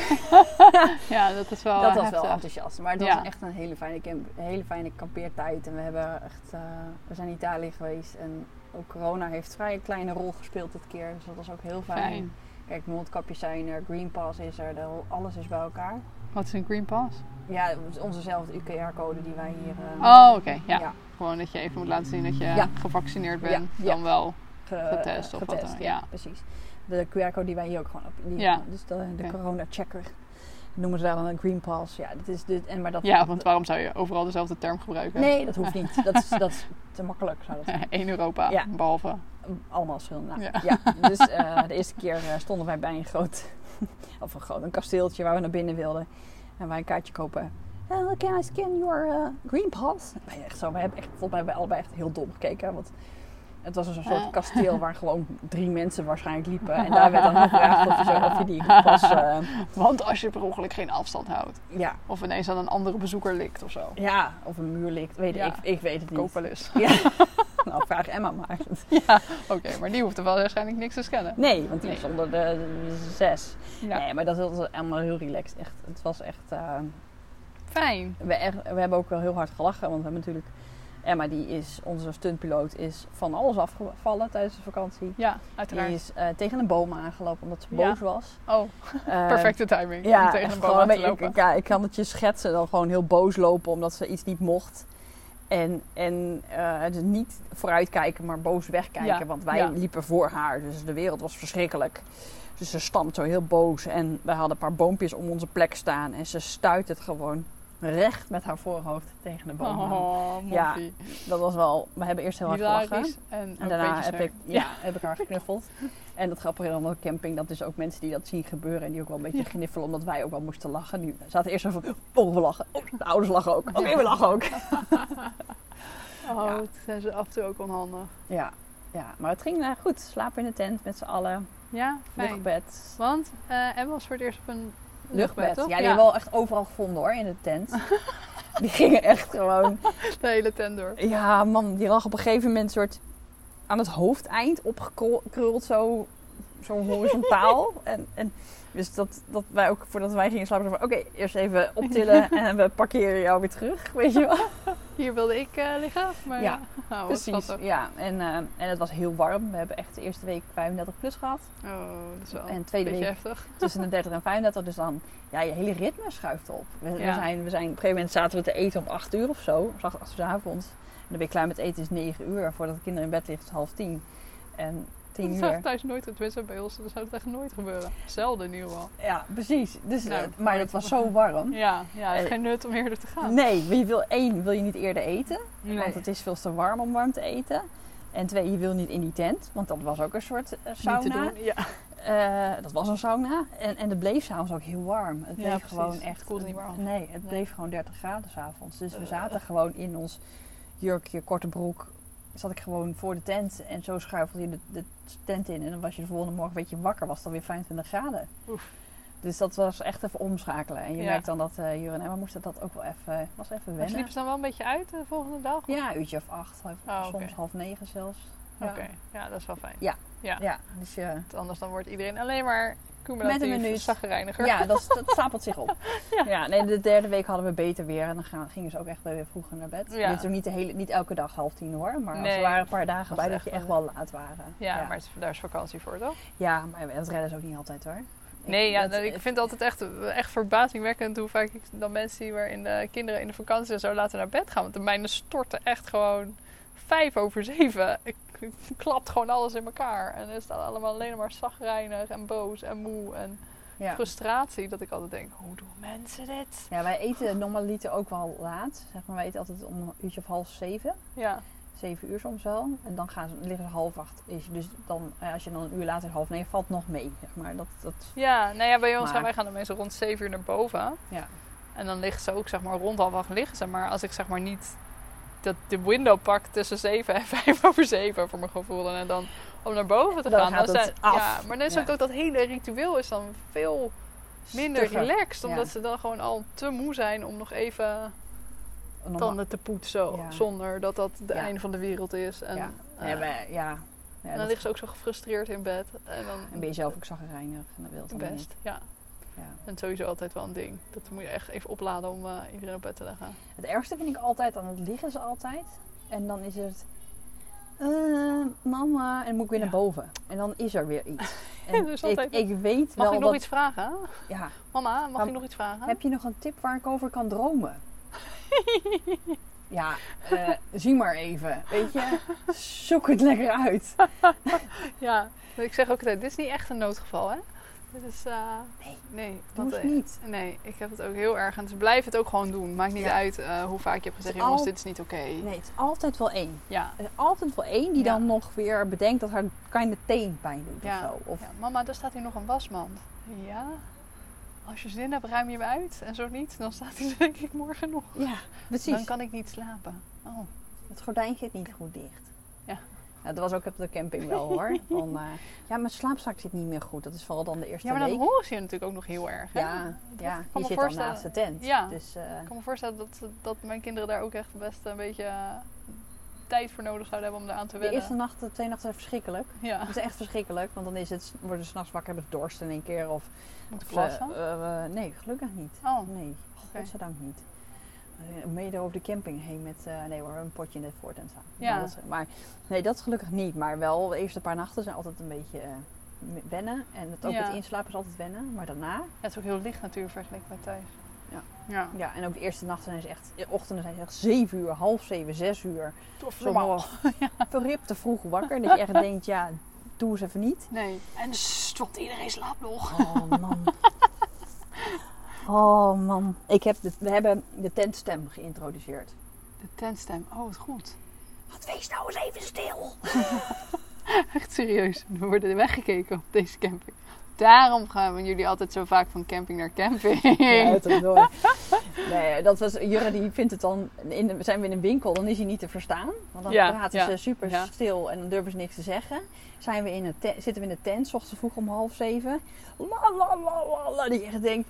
[SPEAKER 1] Ja, dat is wel
[SPEAKER 2] dat was
[SPEAKER 1] Oh, heftig.
[SPEAKER 2] wel enthousiast. Maar het
[SPEAKER 1] Ja.
[SPEAKER 2] was echt een hele fijne, camp- een hele fijne kampeertijd. En we, hebben echt, eh, we zijn in Italië geweest. En ook corona heeft vrij een kleine rol gespeeld dit keer. Dus dat was ook heel fijn.
[SPEAKER 1] Fijn.
[SPEAKER 2] Kijk, mondkapjes zijn er. Green Pass is er. de ho- Alles is bij elkaar.
[SPEAKER 1] Wat is een Green Pass?
[SPEAKER 2] Ja, onzezelfde UKR-code die wij hier... eh,
[SPEAKER 1] Oh, oké. Ja.
[SPEAKER 2] Ja.
[SPEAKER 1] Gewoon dat je even moet laten zien dat je
[SPEAKER 2] Ja.
[SPEAKER 1] gevaccineerd
[SPEAKER 2] Ja,
[SPEAKER 1] bent.
[SPEAKER 2] ja.
[SPEAKER 1] Dan wel.
[SPEAKER 2] ge-
[SPEAKER 1] Getest of wat
[SPEAKER 2] eh, getest,
[SPEAKER 1] dan ook,
[SPEAKER 2] ja,
[SPEAKER 1] ja.
[SPEAKER 2] precies. De QR-code die wij hier ook gewoon op. die-
[SPEAKER 1] Ja.
[SPEAKER 2] Dus de, de
[SPEAKER 1] Oké.
[SPEAKER 2] corona-checker. Noemen ze daar dan een green pass. Ja, dit is dit. En maar dat.
[SPEAKER 1] Ja, want waarom zou je overal dezelfde term gebruiken?
[SPEAKER 2] Nee, dat hoeft niet. Dat is, dat is te makkelijk. Zou dat zijn.
[SPEAKER 1] Eén Europa,
[SPEAKER 2] Ja.
[SPEAKER 1] behalve.
[SPEAKER 2] Allemaal verschillende. namen.
[SPEAKER 1] Ja.
[SPEAKER 2] Ja. Dus eh, de eerste keer eh, stonden wij bij een groot, of een groot, een kasteeltje waar we naar binnen wilden. En wij een kaartje kopen. Eh, can I scan your eh, green pass? Wij echt zo, we hebben echt, volgens mij hebben we allebei echt heel dom gekeken. Want Het was dus een soort kasteel waar gewoon drie mensen waarschijnlijk liepen. En daar werd dan gevraagd of je, zo, of je die pas... eh,
[SPEAKER 1] Want als je per ongeluk geen afstand houdt.
[SPEAKER 2] ja,
[SPEAKER 1] Of ineens aan een andere bezoeker likt of zo.
[SPEAKER 2] ja, of een muur ligt. Weet
[SPEAKER 1] Ja.
[SPEAKER 2] ik, ik weet het niet.
[SPEAKER 1] Koop wel eens.
[SPEAKER 2] Ja. nou, vraag Emma maar.
[SPEAKER 1] Oké, maar die hoeft er wel waarschijnlijk niks te scannen.
[SPEAKER 2] Nee, want die
[SPEAKER 1] Nee.
[SPEAKER 2] is onder de zes.
[SPEAKER 1] Ja.
[SPEAKER 2] Nee, maar dat was allemaal heel relaxed. Echt. Het was echt... eh,
[SPEAKER 1] Fijn.
[SPEAKER 2] we, er- we hebben ook wel heel hard gelachen, want we hebben natuurlijk... Emma, die is, onze stuntpiloot, is van alles afgevallen tijdens de vakantie.
[SPEAKER 1] Ja,
[SPEAKER 2] Die
[SPEAKER 1] uiteraard.
[SPEAKER 2] is eh, tegen een boom aangelopen omdat ze
[SPEAKER 1] Ja.
[SPEAKER 2] boos was.
[SPEAKER 1] Oh,
[SPEAKER 2] Eh,
[SPEAKER 1] perfecte timing. om
[SPEAKER 2] Ja,
[SPEAKER 1] tegen
[SPEAKER 2] echt
[SPEAKER 1] een boom
[SPEAKER 2] gewoon
[SPEAKER 1] aan te
[SPEAKER 2] een beetje-
[SPEAKER 1] lopen.
[SPEAKER 2] ik, ja, ik kan het je schetsen. Dan gewoon heel boos lopen omdat ze iets niet mocht. En, en eh, dus niet vooruitkijken, maar boos wegkijken.
[SPEAKER 1] Ja,
[SPEAKER 2] Want wij
[SPEAKER 1] ja.
[SPEAKER 2] liepen voor haar. Dus de wereld was verschrikkelijk. Dus ze stampt zo heel boos. En we hadden een paar boompjes om onze plek staan. En ze stuit het gewoon recht met haar voorhoofd tegen de boom. aan.
[SPEAKER 1] Oh,
[SPEAKER 2] Ja,
[SPEAKER 1] moffie.
[SPEAKER 2] Dat was wel... We hebben eerst heel hard gelachen.
[SPEAKER 1] Hilarisch. En, ook
[SPEAKER 2] En
[SPEAKER 1] een
[SPEAKER 2] daarna
[SPEAKER 1] beetje
[SPEAKER 2] heb ik,
[SPEAKER 1] sneu.
[SPEAKER 2] ja, heb ik haar geknuffeld. En dat grappige dan op camping, dat dus ook mensen die dat zien gebeuren en die ook wel een beetje
[SPEAKER 1] Ja.
[SPEAKER 2] kniffelen, omdat wij ook wel moesten lachen. Nu zaten eerst zo van, oh we lachen, oh de ouders lachen ook, oké we lachen ook.
[SPEAKER 1] Oh,
[SPEAKER 2] Ja.
[SPEAKER 1] dat zijn ze af en toe ook onhandig.
[SPEAKER 2] Ja, ja, maar het ging eh, goed. Slapen in de tent met z'n allen,
[SPEAKER 1] Ja, fijn.
[SPEAKER 2] luchtbed.
[SPEAKER 1] Want eh Emma was voor het eerst op een luchtbed,
[SPEAKER 2] Luchtbed, ja
[SPEAKER 1] toch?
[SPEAKER 2] die hebben we wel echt overal gevonden hoor, in de tent. die gingen echt gewoon,
[SPEAKER 1] de hele tent door.
[SPEAKER 2] ja man, die lag op een gegeven moment soort aan het hoofdeind opgekruld zo, zo horizontaal. en, en dus dat, dat wij ook, voordat wij gingen slapen, zeiden van oké, eerst even optillen en we parkeren jou weer terug, weet je wel.
[SPEAKER 1] Hier wilde ik eh, liggen, maar
[SPEAKER 2] Ja,
[SPEAKER 1] nou, Oh, wat
[SPEAKER 2] Precies,
[SPEAKER 1] schattig.
[SPEAKER 2] ja. En, eh, en het was heel warm. We hebben echt de eerste week 35 plus gehad.
[SPEAKER 1] Oh, dat is wel
[SPEAKER 2] En
[SPEAKER 1] een
[SPEAKER 2] tweede
[SPEAKER 1] beetje
[SPEAKER 2] week
[SPEAKER 1] heftig.
[SPEAKER 2] tussen de 30 en 35. Dus dan, ja, je hele ritme schuift op. We, we
[SPEAKER 1] Ja.
[SPEAKER 2] zijn, we zijn, op een gegeven moment zaten we te eten om 8 uur of zo. Om 8 uur 's avonds. En dan ben je klaar met eten, is 9 uur. Voordat de kinderen in bed liggen, is het half 10. En 10
[SPEAKER 1] Dat
[SPEAKER 2] uur.
[SPEAKER 1] zou thuis nooit, tenminste bij ons, dat zou het echt nooit gebeuren. Zelden in ieder geval.
[SPEAKER 2] Ja, precies. Dus,
[SPEAKER 1] Nou,
[SPEAKER 2] eh, maar het was zo warm.
[SPEAKER 1] Ja, ja het is
[SPEAKER 2] Eh,
[SPEAKER 1] geen nut om eerder te gaan.
[SPEAKER 2] Nee, maar je wil één, wil je niet eerder eten,
[SPEAKER 1] Nee.
[SPEAKER 2] want het is veel te warm om warm te eten. En twee, je wil niet in die tent, want dat was ook een soort eh, sauna.
[SPEAKER 1] Niet te doen. Ja,
[SPEAKER 2] Eh, dat was een sauna. En, en het bleef s'avonds ook heel warm. Het
[SPEAKER 1] Ja,
[SPEAKER 2] bleef
[SPEAKER 1] precies.
[SPEAKER 2] gewoon
[SPEAKER 1] Het
[SPEAKER 2] echt...
[SPEAKER 1] koelde niet meer af.
[SPEAKER 2] Nee, het
[SPEAKER 1] Nee.
[SPEAKER 2] bleef gewoon 30 graden s'avonds. Dus we
[SPEAKER 1] Eh.
[SPEAKER 2] zaten gewoon in ons jurkje, korte broek. Zat ik gewoon voor de tent. En zo schuifelde je de, de tent in. En dan was je de volgende morgen een beetje wakker. Was het alweer 25 graden.
[SPEAKER 1] Oef.
[SPEAKER 2] Dus dat was echt even omschakelen. En je
[SPEAKER 1] Ja.
[SPEAKER 2] merkt dan dat eh Jur en Emma moesten dat ook wel even... was even
[SPEAKER 1] maar
[SPEAKER 2] wennen.
[SPEAKER 1] sliepen ze dan wel een beetje uit de volgende dag?
[SPEAKER 2] Ja, een uurtje of acht. half-
[SPEAKER 1] Oh,
[SPEAKER 2] soms
[SPEAKER 1] oké.
[SPEAKER 2] half negen zelfs.
[SPEAKER 1] Oké, ja, dat is wel fijn.
[SPEAKER 2] Ja. Ja. ja, dus je...
[SPEAKER 1] Want Anders dan wordt iedereen alleen maar cumulatief
[SPEAKER 2] Met een minuut.
[SPEAKER 1] chagrijniger.
[SPEAKER 2] Ja, dat, dat stapelt zich op. Ja. nee, de derde week hadden we beter weer en dan gaan, gingen ze ook echt wel weer vroeger naar bed.
[SPEAKER 1] Ja.
[SPEAKER 2] Dit toen niet, de hele, niet elke dag half tien hoor, maar
[SPEAKER 1] Nee.
[SPEAKER 2] er waren een paar dagen
[SPEAKER 1] Was
[SPEAKER 2] bij dat
[SPEAKER 1] echt
[SPEAKER 2] je echt
[SPEAKER 1] wel-
[SPEAKER 2] wel laat waren.
[SPEAKER 1] Ja, maar het is- daar is vakantie voor, toch?
[SPEAKER 2] ja, maar dat redden ze ook niet altijd hoor.
[SPEAKER 1] Nee, ja, nou,
[SPEAKER 2] dat-
[SPEAKER 1] ik vind het altijd echt, echt verbazingwekkend hoe vaak ik dan mensen zie waarin de kinderen in de vakantie en zo later naar bed gaan. Want de mijne storten echt gewoon vijf over zeven. Ik, ik- klapt gewoon alles in elkaar. En is dan allemaal alleen maar zagrijnig en boos en moe en
[SPEAKER 2] ja.
[SPEAKER 1] frustratie. Dat ik altijd denk, hoe doen mensen dit?
[SPEAKER 2] ja, wij eten normaliter ook wel laat. Zeg maar, wij eten altijd om een uurtje of half zeven.
[SPEAKER 1] Ja,
[SPEAKER 2] Zeven uur soms wel. En dan gaan ze, liggen ze half acht. Is, dus dan, eh, als je dan een uur later half negen valt, nog mee. Zeg maar. dat, dat,
[SPEAKER 1] ja nou ja, bij ons
[SPEAKER 2] Maar-
[SPEAKER 1] gaan wij gaan dan meestal rond zeven uur naar boven.
[SPEAKER 2] ja.
[SPEAKER 1] En dan liggen ze ook, zeg maar, rond half acht liggen ze. Maar als ik zeg maar niet dat de window pak tussen 7 en 5 over 7 voor mijn gevoel. En dan om naar boven te
[SPEAKER 2] Dan
[SPEAKER 1] gaan.
[SPEAKER 2] gaat het
[SPEAKER 1] zijn-
[SPEAKER 2] af.
[SPEAKER 1] Ja, maar net is
[SPEAKER 2] Ja.
[SPEAKER 1] ook dat dat hele ritueel is dan veel minder
[SPEAKER 2] Stugger.
[SPEAKER 1] relaxed.
[SPEAKER 2] ja.
[SPEAKER 1] Omdat ze dan gewoon al te moe zijn om nog even
[SPEAKER 2] Normaal-
[SPEAKER 1] tanden te poetsen.
[SPEAKER 2] Ja.
[SPEAKER 1] Zonder dat dat de
[SPEAKER 2] Ja.
[SPEAKER 1] einde van de wereld is. En,
[SPEAKER 2] Ja.
[SPEAKER 1] eh,
[SPEAKER 2] Ja, maar- ja. Ja,
[SPEAKER 1] en dan
[SPEAKER 2] dat-
[SPEAKER 1] liggen ze ook zo gefrustreerd in bed. En dan
[SPEAKER 2] En ben je zelf ook zagrijnig en dat wil het dan niet.
[SPEAKER 1] best. Ja.
[SPEAKER 2] Ja.
[SPEAKER 1] En sowieso altijd wel een ding. Dat moet je echt even opladen om eh, iedereen op bed te leggen.
[SPEAKER 2] Het ergste vind ik altijd, aan het liggen ze altijd. En dan is het, eh, mama, en dan moet ik weer naar
[SPEAKER 1] Ja.
[SPEAKER 2] boven. En dan is er weer iets.
[SPEAKER 1] Er
[SPEAKER 2] En
[SPEAKER 1] is
[SPEAKER 2] ik,
[SPEAKER 1] altijd-
[SPEAKER 2] ik weet
[SPEAKER 1] Mag
[SPEAKER 2] wel
[SPEAKER 1] ik nog
[SPEAKER 2] dat,
[SPEAKER 1] iets vragen?
[SPEAKER 2] ja,
[SPEAKER 1] Mama, mag
[SPEAKER 2] Mam,
[SPEAKER 1] ik nog iets vragen?
[SPEAKER 2] heb je nog een tip waar ik over kan dromen? ja, eh, zie maar even, weet je. Zoek het lekker uit.
[SPEAKER 1] Ja, maar ik zeg ook altijd, dit is niet echt een noodgeval, hè? Dit is, eh,
[SPEAKER 2] Nee.
[SPEAKER 1] nee,
[SPEAKER 2] Hoeft
[SPEAKER 1] eh,
[SPEAKER 2] niet.
[SPEAKER 1] Nee, ik heb het ook heel erg. En ze blijven het ook gewoon doen. Maakt niet
[SPEAKER 2] Ja.
[SPEAKER 1] uit eh, hoe vaak je hebt gezegd,
[SPEAKER 2] is
[SPEAKER 1] jongens,
[SPEAKER 2] al-
[SPEAKER 1] dit is niet oké.
[SPEAKER 2] Nee, het is altijd wel één.
[SPEAKER 1] Ja.
[SPEAKER 2] Er is altijd wel één die
[SPEAKER 1] Ja.
[SPEAKER 2] dan nog weer bedenkt dat haar kleine teen pijn doet
[SPEAKER 1] Ja.
[SPEAKER 2] of zo. Of,
[SPEAKER 1] ja. Mama, daar staat hier nog een wasmand. Ja? Als je zin hebt, ruim je hem uit. En zo niet, dan staat hij er denk ik morgen nog.
[SPEAKER 2] ja, precies.
[SPEAKER 1] Dan kan ik niet slapen. Oh,
[SPEAKER 2] Het gordijn zit niet goed dicht.
[SPEAKER 1] Ja.
[SPEAKER 2] dat was ook op de camping wel hoor. Van, eh, ja, mijn slaapzak zit niet meer goed. Dat is vooral dan de eerste
[SPEAKER 1] Ja, maar dat
[SPEAKER 2] week.
[SPEAKER 1] horen ze je natuurlijk ook nog heel erg. Hè?
[SPEAKER 2] ja, ja.
[SPEAKER 1] me
[SPEAKER 2] je zit dan
[SPEAKER 1] voorstellen.
[SPEAKER 2] naast de tent.
[SPEAKER 1] Ja.
[SPEAKER 2] Dus, eh,
[SPEAKER 1] Ik kan me voorstellen dat, dat mijn kinderen daar ook echt best een beetje eh, tijd voor nodig zouden hebben om eraan te
[SPEAKER 2] de
[SPEAKER 1] wennen.
[SPEAKER 2] eerste nacht, de twee nachten zijn verschrikkelijk.
[SPEAKER 1] Ja,
[SPEAKER 2] Het is echt verschrikkelijk, want dan is het, worden ze s'nachts wakker, hebben ze dorst in één keer. Of,
[SPEAKER 1] moet ik
[SPEAKER 2] of ze-
[SPEAKER 1] plassen.
[SPEAKER 2] eh, eh, nee, gelukkig niet.
[SPEAKER 1] Oh,
[SPEAKER 2] Nee,
[SPEAKER 1] Oké.
[SPEAKER 2] godzijdank niet. Eh, Mede over de camping heen met eh, nee hoor, een potje in de voortent staan.
[SPEAKER 1] Ja.
[SPEAKER 2] Dat, maar nee, dat gelukkig niet. Maar wel, de eerste paar nachten zijn altijd een beetje eh, m- wennen. En het, ook
[SPEAKER 1] Ja.
[SPEAKER 2] het inslapen is altijd wennen. Maar daarna,
[SPEAKER 1] Ja, het is ook heel licht natuurlijk vergeleken met thuis.
[SPEAKER 2] Ja.
[SPEAKER 1] ja.
[SPEAKER 2] ja, en ook de eerste nachten zijn ze echt, de ochtenden zijn ze echt zeven uur, half zeven, zes uur.
[SPEAKER 1] Tof,
[SPEAKER 2] Normaal. Verript te vroeg wakker. Dat je echt denkt, ja, doe eens even niet.
[SPEAKER 1] Nee. En
[SPEAKER 2] dus
[SPEAKER 1] stond iedereen slaapt nog.
[SPEAKER 2] Oh man. Oh man. Ik heb de- we hebben de tentstem geïntroduceerd.
[SPEAKER 1] De tentstem. Oh, wat goed.
[SPEAKER 2] Wat wees nou eens even stil.
[SPEAKER 1] Echt serieus. We worden weggekeken op deze camping. Daarom gaan we jullie altijd zo vaak van camping naar camping.
[SPEAKER 2] Ja, het is mooi. Nee, dat was, Jurre die vindt het dan, in de- zijn we in een winkel, dan is hij niet te verstaan. Want dan
[SPEAKER 1] Ja,
[SPEAKER 2] praten
[SPEAKER 1] ja,
[SPEAKER 2] ze super
[SPEAKER 1] ja.
[SPEAKER 2] stil en dan durven ze niks te zeggen. Zijn we in een te- zitten we in de tent, 's ochtends vroeg om half zeven. La la la la la, die echt denkt,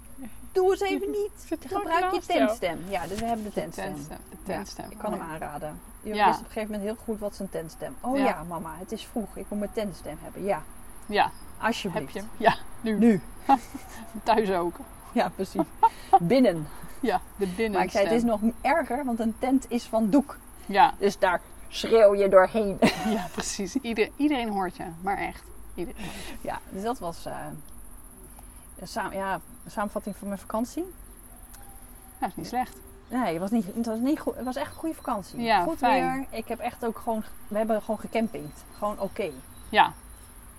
[SPEAKER 2] doe eens even niet.
[SPEAKER 1] Zit vlak
[SPEAKER 2] Gebruik je
[SPEAKER 1] naast jou.
[SPEAKER 2] tentstem. Ja, dus we hebben de
[SPEAKER 1] De
[SPEAKER 2] tentstem.
[SPEAKER 1] tentstem. De
[SPEAKER 2] Ja,
[SPEAKER 1] tentstem.
[SPEAKER 2] ik kan hem
[SPEAKER 1] Mooi.
[SPEAKER 2] aanraden. Jurre
[SPEAKER 1] Ja.
[SPEAKER 2] wist op een gegeven moment heel goed wat zijn tentstem. Oh
[SPEAKER 1] Ja.
[SPEAKER 2] ja. mama, het is vroeg, ik moet mijn tentstem hebben. Ja,
[SPEAKER 1] Ja, heb
[SPEAKER 2] alsjeblieft.
[SPEAKER 1] je hem? Ja, nu.
[SPEAKER 2] Nu.
[SPEAKER 1] Thuis ook.
[SPEAKER 2] Ja, precies. Binnen.
[SPEAKER 1] Ja, de binnenstem.
[SPEAKER 2] Maar ik zei, het is nog erger, want een tent is van doek.
[SPEAKER 1] Ja,
[SPEAKER 2] Dus daar schreeuw je doorheen.
[SPEAKER 1] ja precies. Ieder, iedereen hoort je, maar echt. Iedereen.
[SPEAKER 2] Ja, dus dat was eh, een saam- ja, een samenvatting van mijn vakantie.
[SPEAKER 1] Ja, is niet slecht.
[SPEAKER 2] Nee, het was, niet, het was, niet goed, het was echt een goede vakantie.
[SPEAKER 1] Ja,
[SPEAKER 2] Goed
[SPEAKER 1] fijn.
[SPEAKER 2] weer. Ik heb echt ook gewoon... We hebben gewoon gecampingd. Gewoon oké.
[SPEAKER 1] Ja,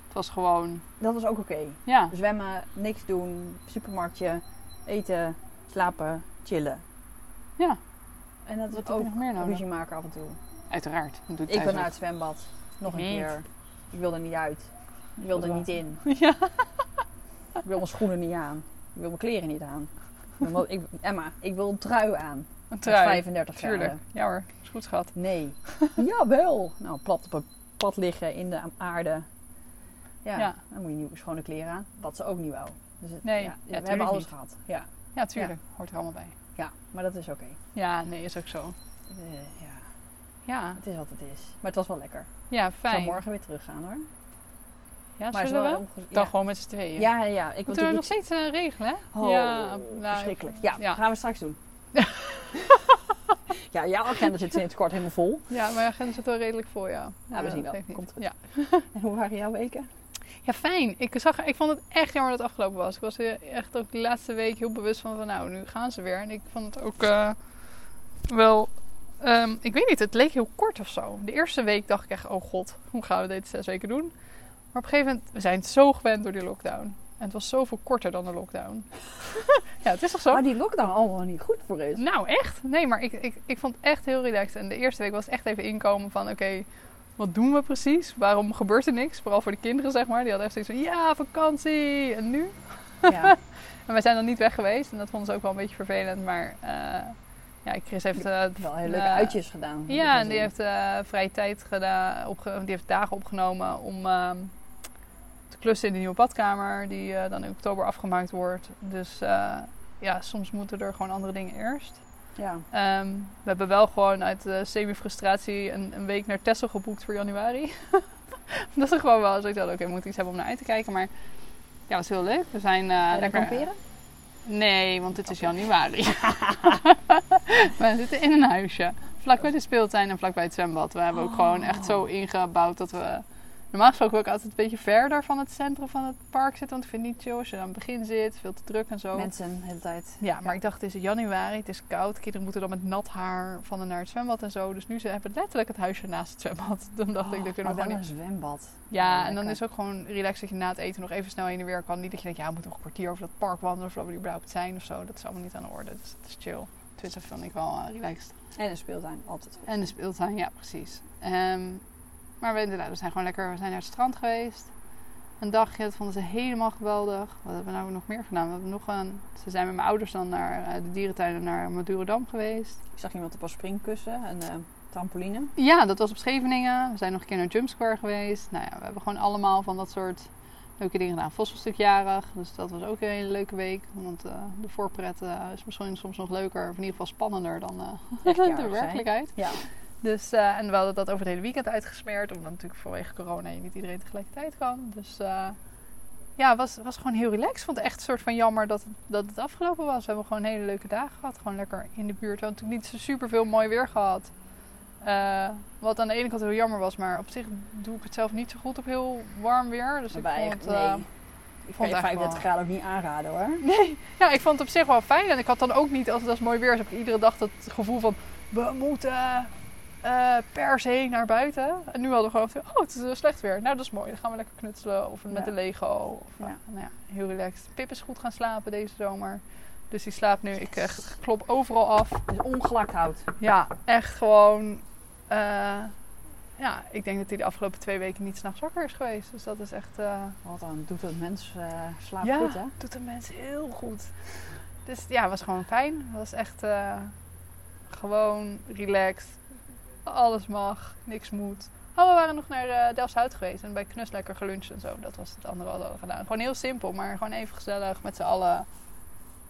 [SPEAKER 1] het was gewoon...
[SPEAKER 2] Dat was ook oké.
[SPEAKER 1] Ja,
[SPEAKER 2] Zwemmen, niks doen, supermarktje, eten, slapen, chillen.
[SPEAKER 1] Ja.
[SPEAKER 2] En dat
[SPEAKER 1] wat
[SPEAKER 2] is
[SPEAKER 1] heb je
[SPEAKER 2] ook
[SPEAKER 1] nog meer nodig?
[SPEAKER 2] ruzie maken af en toe.
[SPEAKER 1] Uiteraard. Dat doe
[SPEAKER 2] Oh, Ik
[SPEAKER 1] thuis
[SPEAKER 2] wil
[SPEAKER 1] ook.
[SPEAKER 2] naar het zwembad. Nog een
[SPEAKER 1] Ik niet.
[SPEAKER 2] keer. Ik wil er niet uit. Ik wil er
[SPEAKER 1] Wat?
[SPEAKER 2] niet in.
[SPEAKER 1] Ja.
[SPEAKER 2] Ik wil mijn schoenen niet aan. Ik wil mijn kleren niet aan. Ik wil mijn- ik- Emma, ik wil een trui aan.
[SPEAKER 1] Een
[SPEAKER 2] Met
[SPEAKER 1] trui.
[SPEAKER 2] 35
[SPEAKER 1] Tuurlijk.
[SPEAKER 2] graden.
[SPEAKER 1] Ja hoor, is goed schat.
[SPEAKER 2] Nee. Jawel. Nou, plat op een pad liggen in de aarde. Ja,
[SPEAKER 1] Ja.
[SPEAKER 2] dan moet je nieuwe schone kleren aan. Wat ze ook niet wou. Dus het-
[SPEAKER 1] Nee, ja,
[SPEAKER 2] ja, we hebben
[SPEAKER 1] tuurlijk
[SPEAKER 2] alles
[SPEAKER 1] niet.
[SPEAKER 2] gehad. Ja.
[SPEAKER 1] Ja, tuurlijk. Hoort er allemaal bij.
[SPEAKER 2] ja, maar dat is oké.
[SPEAKER 1] Ja, nee, is ook zo.
[SPEAKER 2] Eh, ja,
[SPEAKER 1] Ja,
[SPEAKER 2] het is wat het is. Maar het was wel lekker.
[SPEAKER 1] ja
[SPEAKER 2] Ik zou
[SPEAKER 1] fijn.
[SPEAKER 2] morgen weer teruggaan hoor.
[SPEAKER 1] Ja,
[SPEAKER 2] maar
[SPEAKER 1] zullen we?
[SPEAKER 2] onge-
[SPEAKER 1] Dan
[SPEAKER 2] ja.
[SPEAKER 1] gewoon met z'n tweeën.
[SPEAKER 2] Ja, ja, ja. Ik wil
[SPEAKER 1] Moeten
[SPEAKER 2] natuurlijk
[SPEAKER 1] we nog steeds eh, regelen, hè?
[SPEAKER 2] Oh,
[SPEAKER 1] ja, nou,
[SPEAKER 2] verschrikkelijk. Ja,
[SPEAKER 1] ja.
[SPEAKER 2] gaan we straks doen. ja, jouw agenda zit sinds kort helemaal vol.
[SPEAKER 1] ja, maar agenda zit wel redelijk voor, ja.
[SPEAKER 2] we zien wel.
[SPEAKER 1] geeft niet.
[SPEAKER 2] Komt goed.
[SPEAKER 1] Ja.
[SPEAKER 2] En hoe waren jouw weken?
[SPEAKER 1] Ja, fijn. Ik, zag, ik vond het echt jammer dat het afgelopen was. Ik was er echt ook de laatste week heel bewust van, van nou, nu gaan ze weer. En ik vond het ook eh, wel... ehm, ik weet niet, het leek heel kort of zo. De eerste week dacht ik echt, oh god, hoe gaan we dit zes weken doen? Maar op een gegeven moment, we zijn het zo gewend door die lockdown. En het was zoveel korter dan de lockdown. ja, het is toch zo?
[SPEAKER 2] Maar die lockdown allemaal niet goed voor is.
[SPEAKER 1] Nou, echt? Nee, maar ik, ik, ik vond het echt heel relaxed. En de eerste week was het echt even inkomen van... Oké, wat doen we precies? Waarom gebeurt er niks? Vooral voor de kinderen, zeg maar. Die hadden echt zoiets van... Ja, vakantie! En nu?
[SPEAKER 2] Ja.
[SPEAKER 1] En wij zijn dan niet weg geweest. En dat vonden ze ook wel een beetje vervelend. Maar eh, ja, Chris heeft... eh,
[SPEAKER 2] Wel heel leuke
[SPEAKER 1] eh,
[SPEAKER 2] uitjes gedaan. heb ik
[SPEAKER 1] Ja, en die
[SPEAKER 2] gezien.
[SPEAKER 1] heeft eh vrije tijd gedaan... Opge- die heeft dagen opgenomen om... ehm, te klussen in de nieuwe badkamer, die eh, dan in oktober afgemaakt wordt. Dus eh, ja, soms moeten er gewoon andere dingen eerst.
[SPEAKER 2] Ja.
[SPEAKER 1] Ehm, we hebben wel gewoon uit eh, semi-frustratie een, een week naar Texel geboekt voor januari. dat is gewoon wel zo. Ik dacht, oké, we moeten iets hebben om naar uit te kijken. Maar ja, was heel leuk. We zijn eh,
[SPEAKER 2] Ga je
[SPEAKER 1] lekker...
[SPEAKER 2] kamperen?
[SPEAKER 1] Nee, want het is januari. we zitten in een huisje. Vlakbij de speeltuin en vlakbij het zwembad. We hebben ook gewoon echt zo
[SPEAKER 2] Oh.
[SPEAKER 1] ingebouwd dat we... Normaal gesproken ook altijd een beetje verder van het centrum van het park zitten. Want ik vind het niet chill als je aan het begin zit. Veel te druk en zo.
[SPEAKER 2] Mensen de hele tijd.
[SPEAKER 1] Ja, maar ik dacht, het is januari, het is koud. Kinderen moeten dan met nat haar van en naar het zwembad en zo. Dus nu ze hebben letterlijk het huisje naast het zwembad. Oh, Dan dacht ik, dat
[SPEAKER 2] maar
[SPEAKER 1] kunnen we
[SPEAKER 2] wel
[SPEAKER 1] gewoon
[SPEAKER 2] een
[SPEAKER 1] niet.
[SPEAKER 2] zwembad.
[SPEAKER 1] Ja, en
[SPEAKER 2] lekker.
[SPEAKER 1] dan is het ook gewoon relaxed dat je na het eten nog even snel heen en weer kan. Niet dat je denkt, ja, we moeten nog een kwartier over dat park wandelen voordat we er überhaupt zijn of zo. Dat is allemaal niet aan de orde. Dus het is chill. Twitter vond ik wel eh, relaxed.
[SPEAKER 2] En een speeltuin, altijd goed.
[SPEAKER 1] En de speeltuin, ja, precies. Ehm, maar we, inderdaad, we zijn gewoon lekker we zijn naar het strand geweest. Een dagje, dat vonden ze helemaal geweldig. Wat hebben we nou nog meer gedaan? We hebben nog een, ze zijn met mijn ouders dan naar eh, de dierentuin en naar Madurodam geweest.
[SPEAKER 2] Ik zag iemand op een springkussen en eh trampoline.
[SPEAKER 1] Ja, dat was op Scheveningen. We zijn nog een keer naar Jump Square geweest. Nou ja, we hebben gewoon allemaal van dat soort leuke dingen gedaan. Vos was natuurlijk jarig, dus dat was ook een hele leuke week. Want eh, de voorpret eh, is misschien soms nog leuker, of in ieder geval spannender dan eh,
[SPEAKER 2] Echt jarig
[SPEAKER 1] de
[SPEAKER 2] zijn.
[SPEAKER 1] werkelijkheid.
[SPEAKER 2] Ja.
[SPEAKER 1] Dus, eh, en we hadden dat over het hele weekend uitgesmeerd. Omdat natuurlijk vanwege corona je niet iedereen tegelijkertijd kan. Dus eh, ja, het was, was gewoon heel relaxed. Ik vond het echt een soort van jammer dat, dat het afgelopen was. We hebben gewoon hele leuke dagen gehad. Gewoon lekker in de buurt. We hadden natuurlijk niet zo super veel mooi weer gehad. Eh, wat aan de ene kant heel jammer was. Maar op zich doe ik het zelf niet zo goed op heel warm weer. Dus ik
[SPEAKER 2] Waarbij
[SPEAKER 1] vond,
[SPEAKER 2] echt,
[SPEAKER 1] eh,
[SPEAKER 2] nee. Ik vond
[SPEAKER 1] vond het eigenlijk
[SPEAKER 2] 35
[SPEAKER 1] wel-
[SPEAKER 2] graden ook niet aanraden hoor.
[SPEAKER 1] Nee, ja, ik vond het op zich wel fijn. En ik had dan ook niet, als het als mooi weer is, heb ik iedere dag dat gevoel van... We moeten eh, per se naar buiten. En nu hadden we gewoon, van, oh, het is eh, slecht weer. Nou, dat is mooi. Dan gaan we lekker knutselen. Of met
[SPEAKER 2] Ja.
[SPEAKER 1] de Lego. Of, eh,
[SPEAKER 2] Ja.
[SPEAKER 1] nou ja, heel relaxed. Pip is goed gaan slapen deze zomer. Dus die slaapt nu. Ik eh, klop overal af.
[SPEAKER 2] Dus ongelakt hout.
[SPEAKER 1] Ja, echt gewoon... eh, ja, ik denk dat hij de afgelopen twee weken niet s'nachts wakker is geweest. Dus dat is echt... eh,
[SPEAKER 2] Wat dan doet dat mens eh slaapt
[SPEAKER 1] Ja.
[SPEAKER 2] goed hè?
[SPEAKER 1] doet de mens heel goed. Dus ja, was gewoon fijn. was echt eh, gewoon relaxed. Alles mag, niks moet. Oh, we waren nog naar eh Delfshout geweest en bij Knus lekker geluncht en zo. Dat was het andere wat we hadden gedaan. Gewoon heel simpel, maar gewoon even gezellig met z'n allen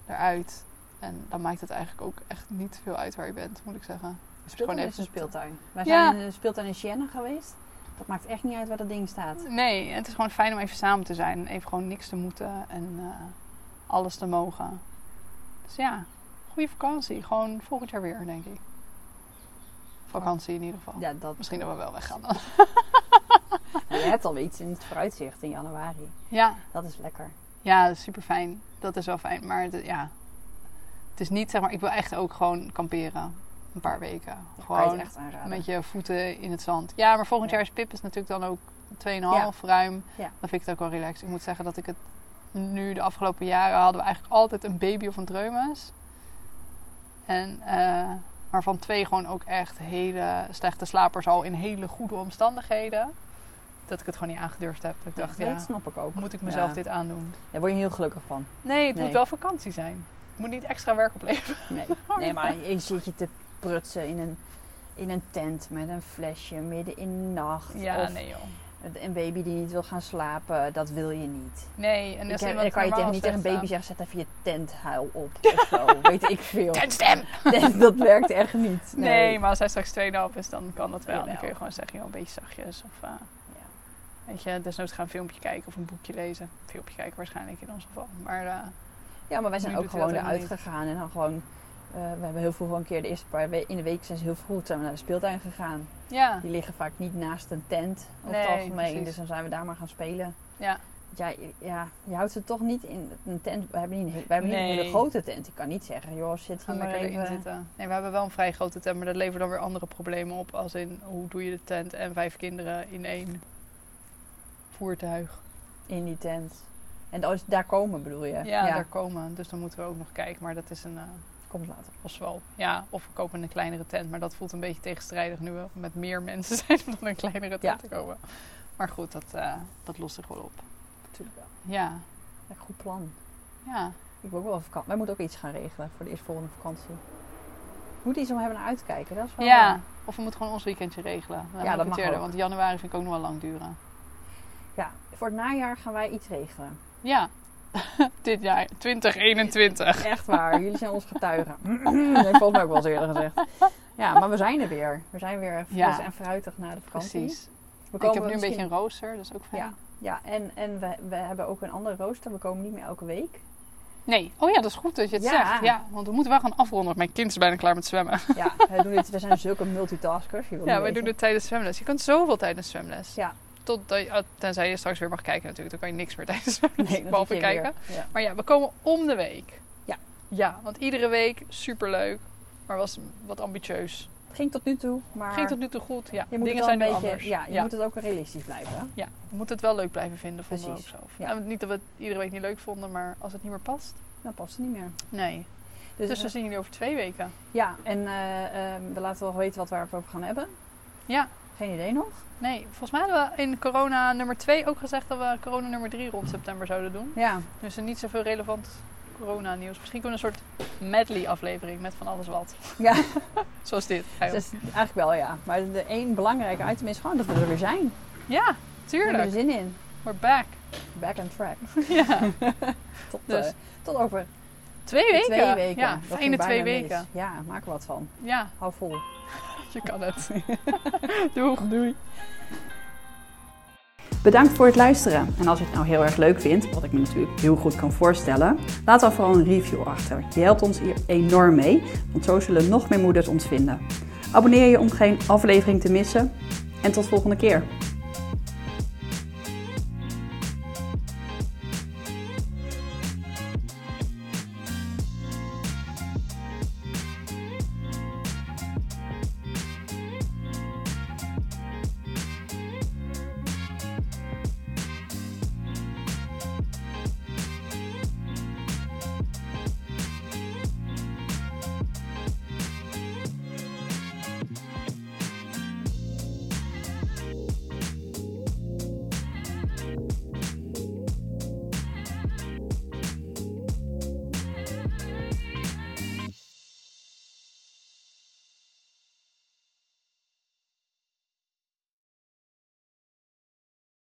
[SPEAKER 1] eruit. En dan maakt het eigenlijk ook echt niet veel uit waar je bent, moet ik zeggen.
[SPEAKER 2] De speeltuin
[SPEAKER 1] Gewoon
[SPEAKER 2] is een
[SPEAKER 1] even-
[SPEAKER 2] speeltuin. Wij
[SPEAKER 1] Ja.
[SPEAKER 2] zijn in de speeltuin in Siena geweest. Dat maakt echt niet uit waar dat ding staat.
[SPEAKER 1] Nee, en het is gewoon fijn om even samen te zijn. en Even gewoon niks te moeten en eh, alles te mogen. Dus ja, goede vakantie. Gewoon volgend jaar weer, denk ik. Vakantie in ieder geval.
[SPEAKER 2] Ja, dat,
[SPEAKER 1] Misschien dat we wel weggaan dan.
[SPEAKER 2] je hebt alweer iets in het vooruitzicht in januari.
[SPEAKER 1] Ja,
[SPEAKER 2] Dat is lekker.
[SPEAKER 1] ja super fijn. Dat is wel fijn. Maar het, ja, het is niet zeg maar... Ik wil echt ook gewoon kamperen. Een paar weken.
[SPEAKER 2] Kan je
[SPEAKER 1] Gewoon
[SPEAKER 2] het echt aanraden.
[SPEAKER 1] met je voeten in het zand. Ja, maar volgend
[SPEAKER 2] Ja.
[SPEAKER 1] jaar is Pip is natuurlijk dan ook 2,5 ruim.
[SPEAKER 2] Ja.
[SPEAKER 1] Dan vind ik het ook wel relaxed. Ik moet zeggen dat ik het nu de afgelopen jaren hadden we eigenlijk altijd een baby of een dreumes. En eh, maar van twee gewoon ook echt hele slechte slapers al in hele goede omstandigheden. Dat ik het gewoon niet aangedurfd heb. Dat ik dacht, ja,
[SPEAKER 2] Dat snap ik ook.
[SPEAKER 1] moet ik mezelf
[SPEAKER 2] Ja.
[SPEAKER 1] dit aandoen?
[SPEAKER 2] Daar word je heel gelukkig van.
[SPEAKER 1] Nee, het
[SPEAKER 2] Nee.
[SPEAKER 1] moet wel vakantie zijn. Het moet niet extra werk opleveren.
[SPEAKER 2] Nee,
[SPEAKER 1] Oh,
[SPEAKER 2] nee maar je zit je te prutsen in een, in een tent met een flesje midden in de nacht.
[SPEAKER 1] Ja,
[SPEAKER 2] of
[SPEAKER 1] nee joh.
[SPEAKER 2] een baby die niet wil gaan slapen, dat wil je niet.
[SPEAKER 1] Nee, en
[SPEAKER 2] Ik
[SPEAKER 1] als
[SPEAKER 2] heb-
[SPEAKER 1] iemand
[SPEAKER 2] dan kan je tegen,
[SPEAKER 1] normaal
[SPEAKER 2] niet tegen een
[SPEAKER 1] zegt,
[SPEAKER 2] baby zeggen, zet even je tenthuil op of zo. Weet ik veel.
[SPEAKER 1] "Ah, Tentstem!
[SPEAKER 2] Nee, dat werkt echt niet.
[SPEAKER 1] Nee, maar als hij straks 2,5 is, dan kan dat wel. Dan
[SPEAKER 2] Jawel.
[SPEAKER 1] kun je gewoon zeggen, joh, een beetje zachtjes. Of, eh,
[SPEAKER 2] Ja.
[SPEAKER 1] Weet je, desnoods gaan een filmpje kijken of een boekje lezen. Filmpje kijken waarschijnlijk in ons geval. Maar eh,
[SPEAKER 2] Ja, maar wij zijn
[SPEAKER 1] Nu
[SPEAKER 2] ook
[SPEAKER 1] doet hij
[SPEAKER 2] gewoon
[SPEAKER 1] dat
[SPEAKER 2] eruit
[SPEAKER 1] helemaal
[SPEAKER 2] gegaan. En dan gewoon, eh, we hebben heel vroeg wel een keer de eerste paar weken, in de week zijn ze heel vroeg zijn we naar de speeltuin gegaan.
[SPEAKER 1] ja,
[SPEAKER 2] Die liggen vaak niet naast een tent over
[SPEAKER 1] Ah. Nee,
[SPEAKER 2] het algemeen.
[SPEAKER 1] precies.
[SPEAKER 2] Dus dan zijn we daar maar gaan spelen.
[SPEAKER 1] Ja.
[SPEAKER 2] Ja, je- ja, je houdt ze toch niet in een tent. We hebben niet, een he- we hebben niet een
[SPEAKER 1] Nee.
[SPEAKER 2] hele grote tent. Ik kan niet zeggen, joh, zit hier
[SPEAKER 1] gaan
[SPEAKER 2] maar
[SPEAKER 1] lekker erin
[SPEAKER 2] even.
[SPEAKER 1] zitten. Nee, we hebben wel een vrij grote tent, maar dat levert dan weer andere problemen op. Als in, hoe doe je de tent en vijf kinderen in één voertuig?
[SPEAKER 2] In die tent. En als- daar komen bedoel je?
[SPEAKER 1] Ja, daar komen. Dus dan moeten we ook nog kijken. Maar dat is een eh
[SPEAKER 2] komt later.
[SPEAKER 1] oswal. Ja, of we kopen een kleinere tent. Maar dat voelt een beetje tegenstrijdig nu we met meer mensen zijn om dan een kleinere tent te kopen. Maar goed, dat, eh, dat lost zich wel op.
[SPEAKER 2] Natuurlijk wel.
[SPEAKER 1] Ja,
[SPEAKER 2] Een goed plan.
[SPEAKER 1] ja.
[SPEAKER 2] Ik wil ook wel op vakantie. Wij moeten ook iets gaan regelen voor de eerstvolgende vakantie. We moeten iets om hebben naar uit te kijken. Dat is wel
[SPEAKER 1] ja.
[SPEAKER 2] waar.
[SPEAKER 1] Of we moeten gewoon ons weekendje regelen. Dan
[SPEAKER 2] Oh. Ja, dat
[SPEAKER 1] het
[SPEAKER 2] mag
[SPEAKER 1] eerder,
[SPEAKER 2] ook.
[SPEAKER 1] Want januari vind ik ook nog wel lang duren.
[SPEAKER 2] Ja, voor het najaar gaan wij iets regelen.
[SPEAKER 1] Ja, dit jaar, 2021.
[SPEAKER 2] Echt waar, jullie zijn ons getuigen. nee, volgens mij ook wel eens eerder gezegd. Ja, maar we zijn er weer. We zijn weer fris
[SPEAKER 1] Ja.
[SPEAKER 2] en fruitig na de vakantie.
[SPEAKER 1] Precies.
[SPEAKER 2] We
[SPEAKER 1] ik heb nu een
[SPEAKER 2] misschien-
[SPEAKER 1] beetje een rooster, dat is ook fijn.
[SPEAKER 2] Ja, ja en, en we, we hebben ook een andere rooster. We komen niet meer elke week.
[SPEAKER 1] Nee, oh ja, dat is goed dat je het
[SPEAKER 2] Ja.
[SPEAKER 1] zegt. Ja, want we moeten wel gaan afronden, want mijn kind is bijna klaar met zwemmen.
[SPEAKER 2] Ja, we, doen dit, we zijn zulke multitaskers. je wil
[SPEAKER 1] Ja,
[SPEAKER 2] niet
[SPEAKER 1] wij
[SPEAKER 2] weten.
[SPEAKER 1] doen het tijdens zwemles. Je kunt zoveel tijdens zwemles.
[SPEAKER 2] Ja.
[SPEAKER 1] Tot, tenzij je straks weer mag kijken natuurlijk, dan kan je niks meer tijdens zwemles,
[SPEAKER 2] Nee, dat
[SPEAKER 1] dus behalve
[SPEAKER 2] doe je
[SPEAKER 1] kijken.
[SPEAKER 2] weer. Ja.
[SPEAKER 1] Maar ja, we komen om de week.
[SPEAKER 2] Ja.
[SPEAKER 1] Ja, want iedere week superleuk, maar was wat ambitieus.
[SPEAKER 2] Het ging tot nu toe, maar
[SPEAKER 1] Ging tot nu toe goed, ja.
[SPEAKER 2] je moet
[SPEAKER 1] Dingen
[SPEAKER 2] het wel
[SPEAKER 1] zijn
[SPEAKER 2] een
[SPEAKER 1] nu
[SPEAKER 2] beetje...
[SPEAKER 1] anders.
[SPEAKER 2] Ja, je moet het ook realistisch blijven. hè?
[SPEAKER 1] Ja, we moeten het wel leuk blijven vinden, vonden
[SPEAKER 2] Precies,
[SPEAKER 1] we ook zelf.
[SPEAKER 2] ja.
[SPEAKER 1] Nou, niet dat we het iedere week niet leuk vonden, maar als het niet meer past.
[SPEAKER 2] Dan Nou, past het niet meer.
[SPEAKER 1] Nee.
[SPEAKER 2] Dus,
[SPEAKER 1] Dus, we zien jullie over twee weken.
[SPEAKER 2] ja, en eh, ehm, we laten wel weten wat we erover gaan hebben.
[SPEAKER 1] Ja.
[SPEAKER 2] Geen idee nog.
[SPEAKER 1] Nee, volgens mij hadden we in corona nummer 2 ook gezegd dat we corona nummer 3 rond september zouden doen.
[SPEAKER 2] Ja,
[SPEAKER 1] Dus er niet zoveel relevant corona nieuws. Misschien kunnen we een soort medley aflevering met van alles wat.
[SPEAKER 2] Ja.
[SPEAKER 1] Zoals dit.
[SPEAKER 2] Dat Dus is eigenlijk wel, ja. Maar de één belangrijke item is gewoon dat we er weer zijn.
[SPEAKER 1] Ja,
[SPEAKER 2] We hebben
[SPEAKER 1] tuurlijk.
[SPEAKER 2] er zin in.
[SPEAKER 1] We're back.
[SPEAKER 2] Back on track.
[SPEAKER 1] Ja.
[SPEAKER 2] Tot,
[SPEAKER 1] Dus-
[SPEAKER 2] eh, tot over
[SPEAKER 1] Twee weken.
[SPEAKER 2] twee weken.
[SPEAKER 1] Ja,
[SPEAKER 2] Dat ging
[SPEAKER 1] fijne
[SPEAKER 2] bijna
[SPEAKER 1] twee
[SPEAKER 2] mis.
[SPEAKER 1] weken.
[SPEAKER 2] Ja, maak er wat van.
[SPEAKER 1] Ja,
[SPEAKER 2] Hou vol.
[SPEAKER 1] je kan het. Doeg.
[SPEAKER 2] Doei. Bedankt voor het luisteren. En als je het nou heel erg leuk vindt, wat ik me natuurlijk heel goed kan voorstellen, laat dan vooral een review achter. Je helpt ons hier enorm mee, want zo zullen nog meer moeders ons vinden. Abonneer je om geen aflevering te missen. En tot volgende keer.